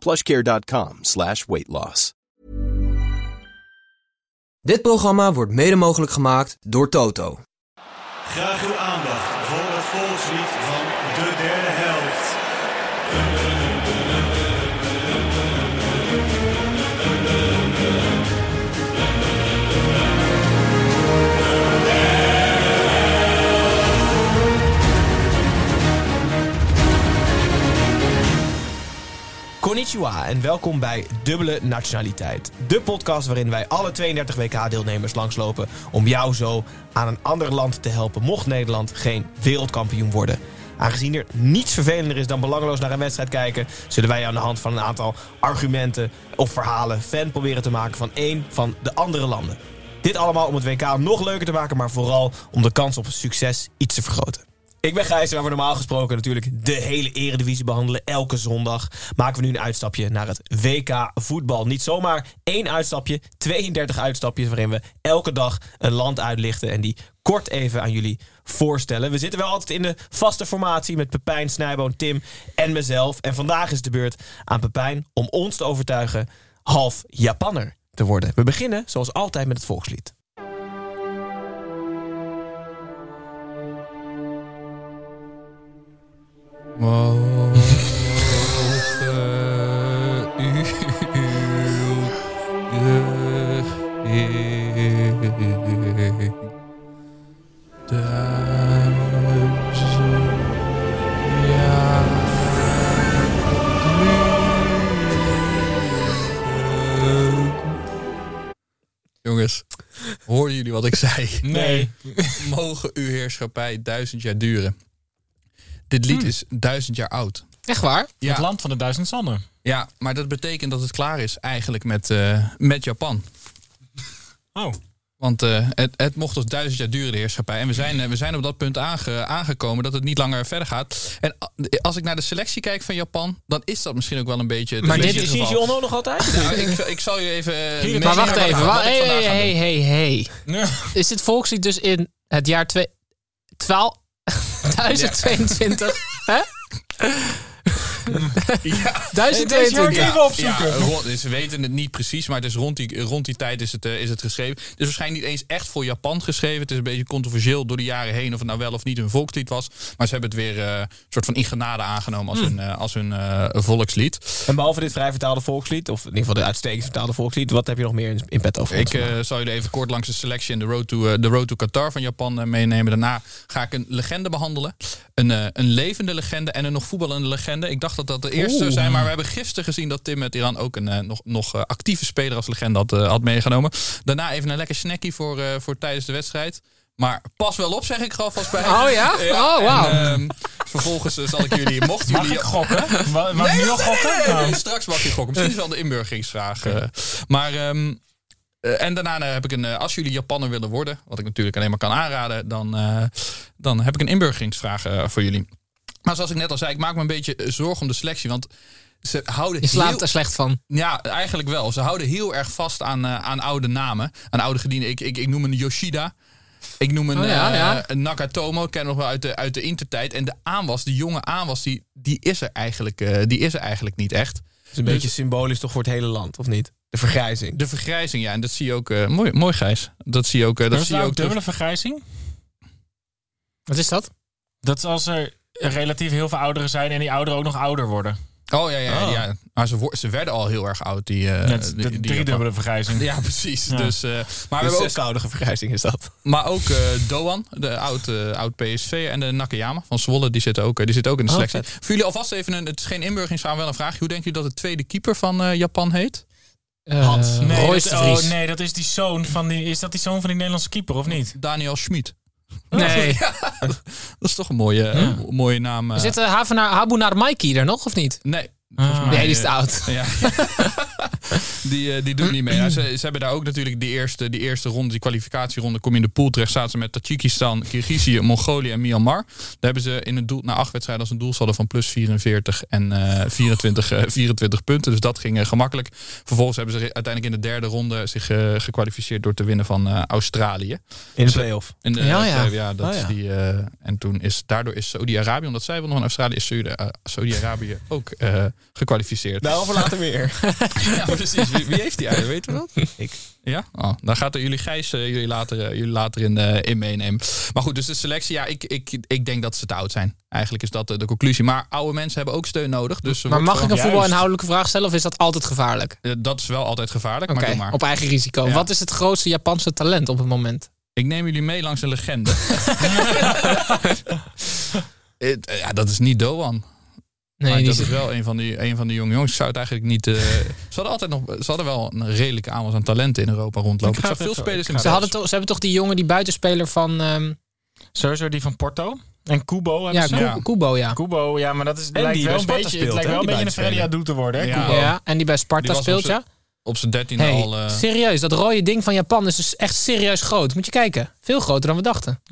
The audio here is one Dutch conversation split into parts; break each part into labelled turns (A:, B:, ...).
A: plushcare.com slash weight loss.
B: Dit programma wordt mede mogelijk gemaakt door Toto.
C: Graag uw aandacht voor het volkslied van de derde helft.
D: Konnichiwa en welkom bij Dubbele Nationaliteit. De podcast waarin wij alle 32 WK-deelnemers langslopen om jou zo aan een ander land te helpen mocht Nederland geen wereldkampioen worden. Aangezien er niets vervelender is dan belangloos naar een wedstrijd kijken, zullen wij aan de hand van een aantal argumenten of verhalen fan proberen te maken van één van de andere landen. Dit allemaal om het WK nog leuker te maken, maar vooral om de kans op succes iets te vergroten. Ik ben Gijs en waar we normaal gesproken natuurlijk de hele eredivisie behandelen. Elke zondag maken we nu een uitstapje naar het WK voetbal. Niet zomaar één uitstapje, 32 uitstapjes waarin we elke dag een land uitlichten en die kort even aan jullie voorstellen. We zitten wel altijd in de vaste formatie met Pepijn, Snijboon, Tim en mezelf. En vandaag is de beurt aan Pepijn om ons te overtuigen half Japanner te worden. We beginnen zoals altijd met het volkslied.
E: Jongens, hoorden jullie wat ik zei?
D: Nee.
E: Mogen uw heerschappij duizend jaar duren. Dit lied is duizend jaar oud.
F: Hmm. Echt waar?
E: Ja.
F: Het land van de duizend zanden.
E: Ja, maar dat betekent dat het klaar is eigenlijk met, eh, met Japan.
F: Oh.
E: Want eh, het, het mocht dus duizend jaar duren, de heerschappij. En we zijn, eh, we zijn op dat punt aange- aangekomen dat het niet langer verder gaat. En a- als ik naar de selectie kijk van Japan, dan is dat misschien ook wel een beetje... het-
D: Maar
E: een
D: dit
E: beetje
D: is
E: het
D: Shinji
E: geval.
D: Ono nog altijd?
E: Nou, ik, ik zal je even... eh,
F: Maar
E: meenemen
G: wacht
E: wat-
G: even,
E: wat
G: wa-
E: ik
G: hey,
E: vandaag
G: hey,
E: ga doen.
G: hey, hey, hey.
F: Nee.
G: Is dit volkslied dus in het jaar twee- 12 2022? Hè?
E: Ja.
G: 1022.
F: Even opzoeken.
E: Ja, rond- ze weten het niet precies, maar het is rond die, rond die tijd is het, eh, is het geschreven. Het is waarschijnlijk niet eens echt voor Japan geschreven. Het is een beetje controversieel door de jaren heen of het nou wel of niet hun volkslied was. Maar ze hebben het weer eh, een soort van in genade aangenomen als
F: Hmm.
E: hun, eh, als hun eh, volkslied.
D: En behalve dit vrij vertaalde volkslied, of in ieder geval de uitstekend vertaalde volkslied, wat heb je nog meer in, in pet over?
E: Ik eh, zal jullie even kort langs de selectie en de road to, eh, de road to Qatar van Japan eh, meenemen. Daarna ga ik een legende behandelen. Een, eh, een levende legende en een nog voetballende legende. Ik dacht dat dat de eerste zou zijn, maar we hebben gisteren gezien dat Tim met Iran ook een eh, nog, nog eh, actieve speler als legende had, eh, had meegenomen. Daarna even een lekker snackie voor, eh, voor tijdens de wedstrijd. Maar pas wel op, zeg ik er alvast bij.
G: Oh ja? Oh,
E: en,
G: wauw.
E: ehm, vervolgens eh, zal ik jullie, mochten
F: Mag
E: jullie...
F: ik gokken? Mag, mag ik nu
E: Nee,
F: al
E: nee, nee,
F: gokken?
E: nee, nee,
F: Nou,
E: Straks mag je gokken. Misschien is wel de inburgeringsvraag. eh. maar ehm, eh, en daarna eh, heb ik een. eh, als jullie Japanner willen worden, wat ik natuurlijk alleen maar kan aanraden, dan, eh, dan heb ik een inburgeringsvraag eh, voor jullie. Maar zoals ik net al zei, ik maak me een beetje eh, zorgen om de selectie, want ze houden
G: Je
E: heel-
G: slaapt er slecht van.
E: ja, eigenlijk wel. Ze houden heel erg vast aan, eh, aan oude namen. Aan oude gedienden. Ik, ik, ik noem een Yoshida. Ik noem een,
G: Oh ja,
E: eh,
G: ja.
E: een Nakatomo. Ik ken hem nog wel uit de, uit de intertijd. En de aanwas, die jonge aanwas, die, die, is, er eigenlijk, eh, die is er eigenlijk niet echt.
D: is een beetje symbolisch toch voor het hele land, of niet? De vergrijzing.
E: De vergrijzing, ja. En dat zie je ook... eh, mooi, mooi, Gijs. Dat zie je ook... eh,
F: Dat
E: dat
F: is
E: zie je
F: nou ook
E: ook terug.
F: dubbele vergrijzing.
G: Wat is dat?
F: Dat is als er relatief heel veel ouderen zijn en die ouderen ook nog ouder worden.
E: Oh, ja, ja.
F: Oh.
E: ja. Maar ze, wo- ze werden al heel erg oud, die... eh,
F: Net
E: die-
F: de
E: die
F: driedubbele vergrijzing.
E: Ja, precies.
F: Ja.
E: Dus, eh, maar we
D: De
E: hebben ook
D: zeskoudige vergrijzing is dat.
E: Maar ook eh, Doan, de oud, eh, oud PSV en de Nakayama van Zwolle, die zitten ook, eh, die zitten ook in de
D: Oh,
E: selectie. Voor jullie alvast even een, het is geen inburgeringsvraag, wel een vraag. Hoe denken jullie dat de tweede keeper van eh, Japan heet?
G: Hans.
F: Nee,
G: Eh, Royce
F: dat,
G: de Vries.
F: oh, nee, dat is die zoon van die. Is dat die zoon van die Nederlandse keeper of niet?
E: Daniel Schmid.
G: Nee.
E: Dat is toch een mooie, eh, mooie naam. eh.
G: Zit uh, Habunar Maiki er nog of niet?
E: Nee. eh,
G: eh,
F: Ah.
G: Nee, die is te oud.
E: Ja. die, eh, die doen niet mee. Nou, ze, ze hebben daar ook natuurlijk die eerste, die eerste ronde, die kwalificatieronde, kom je in de pool terecht. Zaten ze met Tajikistan, Kirgizië, Mongolië en Myanmar. Daar hebben ze in het doel, na acht wedstrijden als een doelsaldo van plus 44 en eh, 24, eh, 24 punten. Dus dat ging eh, gemakkelijk. Vervolgens hebben ze re- uiteindelijk in de derde ronde zich eh, gekwalificeerd door te winnen van eh, Australië.
D: In de play-off.
E: In de,
G: Ja, ja.
E: eh, ja, dat
D: Oh, ja.
E: Is die, eh, en toen is daardoor is Saudi-Arabië, omdat zij wel nog in Australië is, Saudi- eh, Saudi-Arabië ook eh, gekwalificeerd.
D: Daarover later meer.
E: Ja, precies. Wie, wie heeft die eieren, weten we dat? Ik. Ja?
F: Ah.
E: Oh, dan gaat er jullie Gijs eh, jullie later, eh, jullie later in, eh, in meenemen. Maar goed, dus de selectie, ja, ik, ik, ik denk dat ze te oud zijn. Eigenlijk is dat eh, de conclusie. Maar oude mensen hebben ook steun nodig. Dus
G: Maar mag ik een
F: Juist.
G: voetbalinhoudelijke vraag stellen of is dat altijd gevaarlijk?
E: een... Eh, Dat is wel altijd gevaarlijk,
G: Oké,
E: maar doe maar.
G: op eigen risico.
E: Ja.
G: Wat is het grootste Japanse talent op het moment?
E: Ik neem jullie mee langs een legende. Het, eh, ja, dat is niet Doan.
G: Nee,
E: maar
G: die
E: dat
G: zit-
E: is wel een van die, een van die jonge jongens. Ik zou het eigenlijk niet... eh, ze, hadden altijd nog, ze hadden wel een redelijke aanwas aan talenten in Europa rondlopen. Ik,
F: ga
E: zag
F: het
E: veel
F: even-
E: spelers
F: ik
E: in
G: ze, hadden toch, ze hebben toch die jongen, die buitenspeler van ehm
F: Sowieso die van Porto. En Kubo.
G: ja,
F: Ja,
G: Ku-
E: Ja.
G: Kubo, ja.
F: Kubo, ja, maar dat is,
D: En
F: lijkt
D: die
F: wel
D: bij
F: een
D: Sparta
F: beetje,
D: speelt,
F: het lijkt wel
D: hè,
F: een beetje
D: die
F: een Freddy
D: buitenspeler.
F: Adu te worden. hè,
E: Ja.
F: Kubo.
G: Ja, en die bij Sparta
E: Die was
G: speelt,
E: op z'n-
G: ja.
E: op zijn dertiende
G: Hey,
E: al... eh,
G: serieus, dat rode ding van Japan is dus echt serieus groot. Moet je kijken. Veel groter dan we dachten.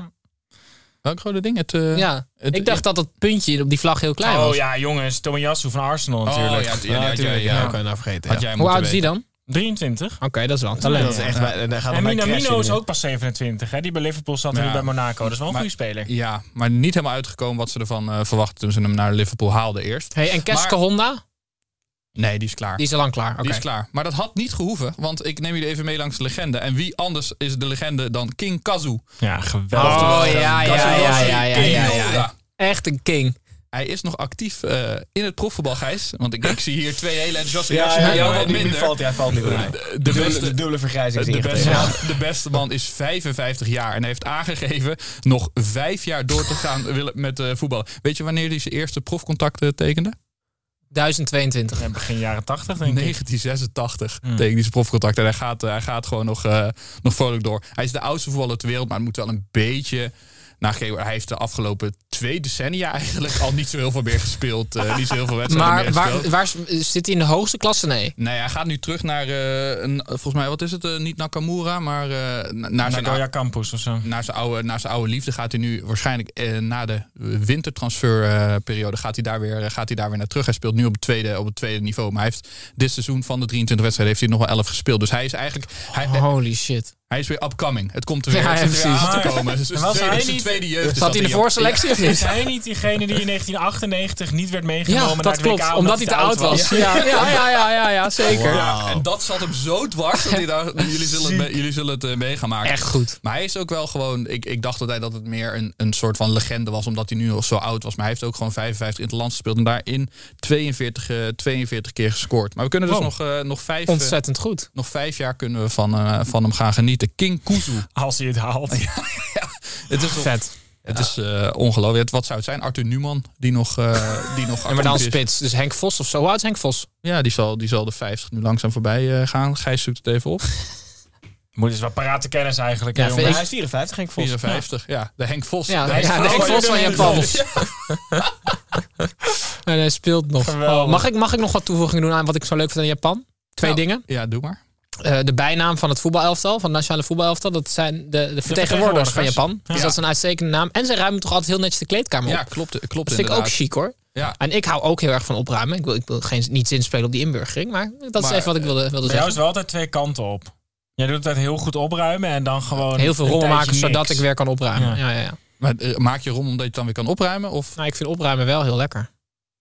E: Welk grote ding? Het, eh,
G: ja.
E: het-
G: ik dacht dat dat puntje op die vlag heel klein
F: Oh
G: was.
F: ja, jongens. Tomiyasu van Arsenal
E: Oh,
F: natuurlijk.
E: ja,
D: Ja,
E: ja, ja,
D: natuurlijk.
E: ja,
D: Ja,
E: ja.
D: kan je nou vergeten.
E: Had
D: ja.
E: jij
G: Hoe
E: moeten
G: oud is die
E: weten.
G: dan? Oké,
F: 23.
G: dat is wel een talent.
D: Dat is echt... bij- daar gaat
F: En
D: het bij crashen,
F: Minamino is
D: jongen.
F: ook pas 27. Hè? Die bij Liverpool zat en
E: Ja.
F: nu bij Monaco. Dat is wel een
E: Maar-
F: goede speler.
E: Ja, maar niet helemaal uitgekomen wat ze ervan eh verwachten toen ze hem naar Liverpool haalden eerst.
G: Hey, en Keske
E: Maar-
G: Honda?
E: Nee, die is klaar.
G: Die is al lang klaar. Oké.
E: Die is klaar. Maar dat had niet gehoeven, want ik neem jullie even mee langs de legende. En wie anders is de legende dan King Kazu?
F: Ja, geweldig.
G: Oh ja, ja, ja, ja, ja, ja, ja, ja.
E: Yoda.
G: Echt een king.
E: Hij is nog actief eh, in het profvoetbal, Gijs. Want ik, ik zie hier twee hele enthousiaste
D: Ja,
E: reacties.
D: ja,
E: Bij jou wat
D: die- die
E: minder.
D: valt, hij valt niet door.
E: De-
D: De
E: De
D: dubbele,
E: beste,
D: dubbele vergrijzing is
E: De
D: ingetreden.
E: beste, man, de beste man is 55 jaar en heeft aangegeven nog vijf jaar door te gaan willen met eh voetballen. Weet je wanneer hij zijn eerste profcontact eh, tekende?
G: 1022.
F: Ja, Begin jaren 80 denk ik.
E: 1986 tekende hij zijn profcontact en hij gaat, eh, hij gaat gewoon nog, eh, nog vrolijk door. Hij is de oudste voetballer ter wereld, maar het moet wel een beetje... Nou, hij heeft de afgelopen twee decennia eigenlijk al niet zo heel veel meer gespeeld. eh, niet zo heel veel wedstrijden meer
G: Maar
E: gespeeld.
G: waar, waar is- zit hij in de hoogste klasse? Nee.
E: Nee, hij gaat nu terug naar, eh, een, volgens mij, wat is het? eh, niet Nakamura, maar eh, na- naar zijn
F: Nagoya Campus of zo.
E: Naar zijn, oude, naar zijn oude liefde gaat hij nu waarschijnlijk eh, na de wintertransferperiode gaat hij, daar weer, eh, gaat hij daar weer naar terug. Hij speelt nu op het tweede, op het tweede niveau. Maar hij heeft dit seizoen van de 23 wedstrijden heeft hij nog wel 11 gespeeld. Dus hij is eigenlijk hij,
G: Holy shit.
E: hij is weer upcoming. Het komt er weer,
G: Oh. Ja,
E: het zit er
G: ja,
E: weer
G: precies.
E: aan te komen. Het is
F: was
E: tweede,
F: hij
E: het is
F: niet-
E: tweede jeugd. is
G: Zat
E: dat
G: hij in de voorselectie of
F: Is
G: niet?
F: hij niet diegene die in 1998 niet werd meegenomen
G: Ja,
F: naar
G: dat
F: het
G: klopt.
F: WK
G: Omdat, hij te oud was. Dus,
F: Ja.
G: Ja, ja, ja, ja, ja, ja, zeker.
E: Ja, en dat zat hem zo dwars. Dat hij daar, jullie, zullen het, me- jullie zullen het eh, mee gaan maken.
G: Echt goed.
E: Maar hij is ook wel gewoon. Ik, ik dacht dat hij dat het meer een, een soort van legende was, omdat hij nu al zo oud was. Maar hij heeft ook gewoon 55 in het land gespeeld en daarin 42, eh, 42 keer gescoord. Maar we kunnen dus
G: Wow.
E: nog, eh, nog, vijf, eh,
G: Ontzettend goed.
E: nog vijf jaar kunnen we van, eh, van hem gaan genieten. King Kuzu.
F: Als hij het haalt.
E: Het is,
G: Vet.
E: Het is eh, ongelooflijk. Het- Wat zou het zijn? Arthur Newman, die nog. eh die nog
G: En maar dan
E: actief is.
G: spits. Dus Henk Vos of zo. Hoe oud is Henk Vos?
E: Ja, die zal, die zal de 50 nu langzaam voorbij eh, gaan. Gijs zoekt het even op.
F: Moet eens wat parate kennis eigenlijk.
G: Ja,
F: hè, jongen.
G: vind
D: Hij is 54, ging ik volgens
E: 54. Ja, de Henk Vos.
G: Ja,
E: De
G: ja, de Henk Vos van Japan. En hij speelt nog.
F: Geweldig.
G: Oh, mag, ik, mag ik nog wat toevoegingen doen aan wat ik zo leuk vind aan Japan? Twee
E: Nou.
G: dingen.
E: Ja, doe maar.
G: Eh, de bijnaam van het voetbalelftal, van het nationale voetbalelftal, dat zijn de, de vertegenwoordigers, van
F: vertegenwoordigers.
G: Japan. Dus dat is een uitstekende naam. En ze ruimen toch altijd heel netjes de kleedkamer op.
E: Ja, klopt, klopt
G: dat vind ik
E: inderdaad.
G: ook chic hoor.
E: Ja.
G: En ik hou ook heel erg van opruimen. Ik wil, ik wil geen, niet zinspelen op die inburgering, maar dat
E: Maar,
G: is even wat ik wilde, wilde
F: Bij jou is
G: zeggen.
F: wel altijd twee kanten op. Jij doet het heel goed opruimen en dan gewoon...
G: Heel veel
F: een
G: rommel
F: tijdje
G: maken zodat
F: niks.
G: ik weer kan opruimen. Ja.
F: Ja.
G: Ja, ja,
E: Maar eh, maak je rom omdat je het dan weer kan opruimen? Of?
G: Nou, ik vind opruimen wel heel lekker.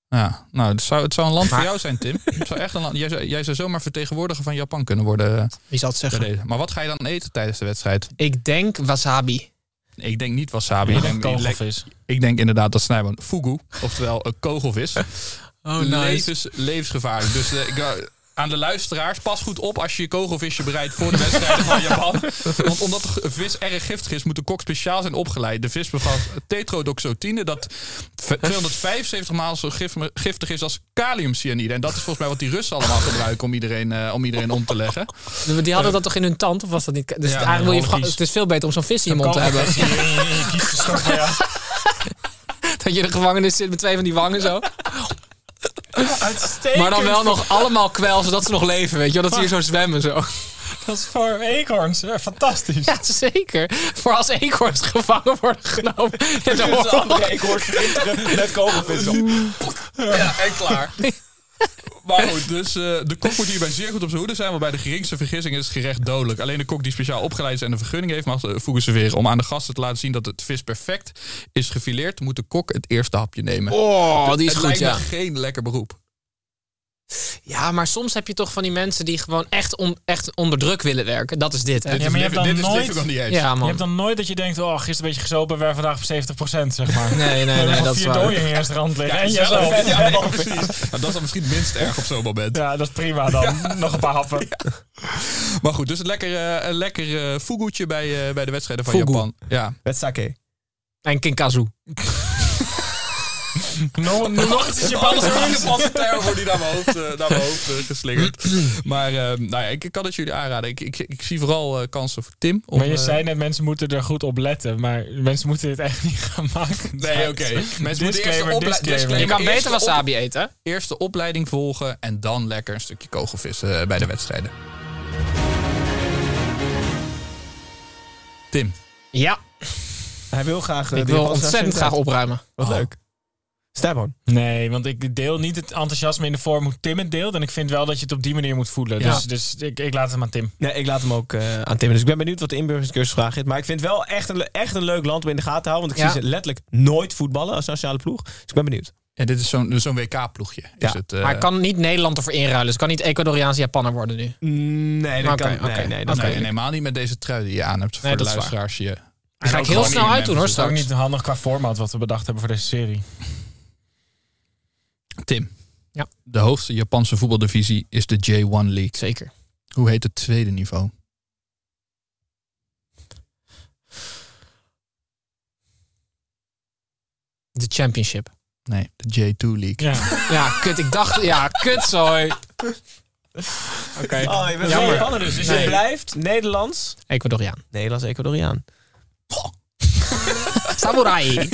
E: Ja, nou, het zou, het zou een land voor
G: Maar-
E: jou zijn, Tim. Het zou echt een land, jij, zou, jij zou zomaar vertegenwoordiger van Japan kunnen worden. eh,
G: Wie zal het
E: bij
G: zeggen?
E: deze. Maar wat ga je dan eten tijdens de wedstrijd?
G: Ik denk wasabi.
E: Ik denk niet wasabi.
F: Ja,
E: Ik
F: een
E: denk,
F: kogelvis.
E: ik denk inderdaad dat snijboon fugu, oftewel een kogelvis.
G: Oh,
E: Levens, levensgevaarlijk. Dus eh, ik, eh, aan de luisteraars, pas goed op als je je kogelvisje bereidt voor de wedstrijden van Japan. Want omdat de g- vis erg giftig is, moet de kok speciaal zijn opgeleid. De vis bevat tetrodoxotine, dat v- 275 maal zo gif- giftig is als kaliumcyanide. En dat is volgens mij wat die Russen allemaal gebruiken om iedereen, eh, om iedereen om te leggen.
G: Die hadden dat toch in hun tand? Of was dat niet? Dus
E: Ja,
G: eigenlijk wil je
F: logisch.
G: vra- het is veel beter om zo'n vis in je mond te hebben.
F: Kogelvis, je- je kiest de stof, ja.
G: Dat je in de gevangenis zit met twee van die wangen zo.
F: Uitstekend.
G: Maar dan wel nog allemaal kwel, zodat ze nog leven, weet je wel. Dat ze hier zo zwemmen zo.
F: Dat is voor eekhoorns. hè. Fantastisch.
G: Ja, zeker. Voor als eekhoorns gevangen worden genomen. in de
D: Dus de
G: oorlog.
D: andere eekhoorns verinteren met kogelvissen.
E: Ja, en klaar. Maar goed, dus eh, de kok moet hierbij zeer goed op zijn hoede zijn. Want bij de geringste vergissing is het gerecht dodelijk. Alleen de kok die speciaal opgeleid is en een vergunning heeft, mag eh, voegen ze weer. Om aan de gasten te laten zien dat het vis perfect is gefileerd, moet de kok het eerste hapje nemen.
G: Oh, die is
E: het
G: goed,
E: lijkt
G: ja.
E: me geen lekker beroep.
G: Ja, maar soms heb je toch van die mensen die gewoon echt, on- echt onder druk willen werken. Dat is dit, hè?
E: Dit
F: maar
E: is
F: je hebt
E: living-
F: dan
E: dit is
F: nooit-
E: living on the edge.
G: Ja,
F: Je hebt
G: man.
F: dan nooit dat je denkt, oh, gisteren een beetje gezopen, we waren vandaag op 70%, zeg maar.
G: Nee, nee,
F: We hebben
G: nee,
F: nog
G: dat is
F: vier
G: waar.
F: dooien in je rand liggen. en
E: zelf.
F: jezelf.
E: Ja, nee, precies. Nou, dat is dan misschien het minst erg op zo'n moment.
F: Ja, dat is prima dan. Nog een paar happen.
E: Maar goed, dus een lekker, eh, een lekker eh, fugu'tje bij, eh, bij de wedstrijden van
G: Fugu.
E: Japan. Ja.
D: Met sake.
G: En Kinkazu.
F: No, no,
E: Oh,
F: nog iets is je
E: Alles
F: ballen
E: een
F: zo in.
E: hele platte term wordt die naar mijn hoofd, eh, naar mijn hoofd eh, geslingerd. Maar eh, nou ja, ik ik kan het jullie aanraden. Ik, ik, ik zie vooral eh, kansen voor Tim. om,
F: Maar je
E: eh,
F: zei net, mensen moeten er goed op letten. Maar mensen moeten dit echt niet gaan maken.
E: Nee, oké. Mensen moeten eerst de
F: Disclaimer,
E: ople-
F: disclaimer.
E: disclaimer.
G: Je kan
E: Eerst
G: beter
E: de op-
G: wasabi eten. hè?
E: Eerst de opleiding volgen en dan lekker een stukje kogelvissen eh, bij de wedstrijden. Tim.
G: Ja,
D: Hij wil graag... eh,
G: ik
D: de
G: wil
D: Japanse
G: ontzettend
D: accent
G: graag opruimen.
D: Wat leuk. Stefan.
F: Nee, want ik deel niet het enthousiasme in de vorm hoe Tim het deelt. En ik vind wel dat je het op die manier moet voelen.
G: Ja.
F: Dus, dus ik, ik laat het aan Tim.
D: Nee, ik laat hem ook eh, aan Tim. Dus ik ben benieuwd wat de inburgeringscursusvraag is. Maar ik vind het wel echt een, le- echt een leuk land om in de gaten te houden. Want ik
G: Ja.
D: zie ze letterlijk nooit voetballen als nationale ploeg. Dus ik ben benieuwd.
E: En dit is zo'n zo'n WK-ploegje. is
D: Ja,
E: het, eh,
G: Maar ik kan niet Nederland ervoor inruilen. Dus ik kan niet Ecuadoriaanse Japaner worden nu.
D: Nee, dat
G: Oké,
D: kan nee,
G: oké.
D: nee,
E: Nee,
D: dat kan
E: nee,
D: niet.
E: helemaal niet met deze trui die je aan hebt. Voor
G: Nee,
E: de
G: dat is waar.
E: luisteraars je.
G: Die ga
E: En
G: ik
E: ook
G: heel
E: gewoon
G: snel
E: in
G: uitdoen hoor
E: Memphis.
F: Het is ook
G: straks.
F: niet handig qua format wat we bedacht hebben voor deze serie.
E: Tim.
G: Ja.
E: De hoogste Japanse voetbaldivisie is de J1 League.
G: Zeker.
E: Hoe heet het tweede niveau?
G: De championship.
E: Nee, de J2 League.
F: Ja.
G: Ja, kut. Ik dacht... Ja, kut zooi. Oké.
D: Oh, je
G: Jammer.
D: bent geen Japaner dus. Dus
G: Nee.
D: je blijft Nederlands.
G: Ecuadoriaan.
D: Nederlands-Ecuadoriaan.
G: Samurai.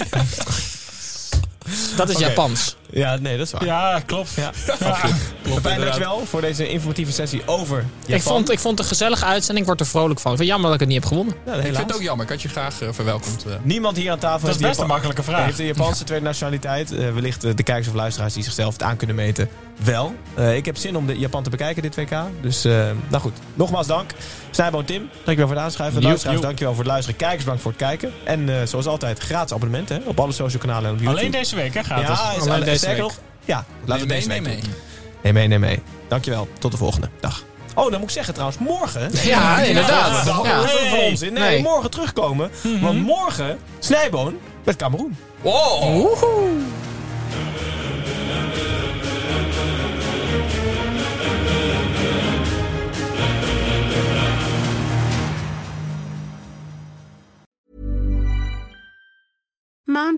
G: Dat is Japans.
D: Ja, nee, dat is waar.
F: ja, klopt. Ja.
D: Fijn dankjewel voor deze informatieve sessie over Japan.
G: Ik vond, ik vond het een gezellige uitzending. Ik word er vrolijk van. Ik vind het jammer dat ik het niet heb gewonnen.
D: Nou,
E: Ik
D: helaas.
E: vind het ook jammer. Ik had je graag eh, verwelkomd. eh.
D: Niemand hier aan tafel
F: Dat is
D: heeft
F: best
D: de Japan-
F: een makkelijke vraag.
D: Heeft de Japanse tweede nationaliteit, eh, wellicht eh, de kijkers of luisteraars die zichzelf het aan kunnen meten, wel. Eh, ik heb zin om de Japan te bekijken dit WK. Dus, eh, nou goed. Nogmaals dank. Snijboon Tim, dankjewel voor het aanschuiven.
G: Joep,
D: Luisteraars,
G: joep.
D: dankjewel voor het luisteren. Kijkers, bedankt voor het kijken. En eh, zoals altijd, gratis abonnementen hè, op alle social kanalen en op YouTube.
F: Alleen deze week, hè,
D: Ja,
F: gratis.
D: is
G: Alleen
D: alle-
G: deze
D: sterker
G: week.
D: nog, Ja, laten we
E: Neem
D: deze
E: mee,
D: week
E: mee.
D: doen. Neem mee, neem mee. Dankjewel. Tot de volgende. Dag. Oh, dan moet ik zeggen trouwens, morgen... Ah,
G: Ja, inderdaad.
D: Dat
G: Ja.
D: is wel van ons in. Nee,
G: Nee.
D: morgen terugkomen. Want morgen snijboon met Cameroen.
H: Mom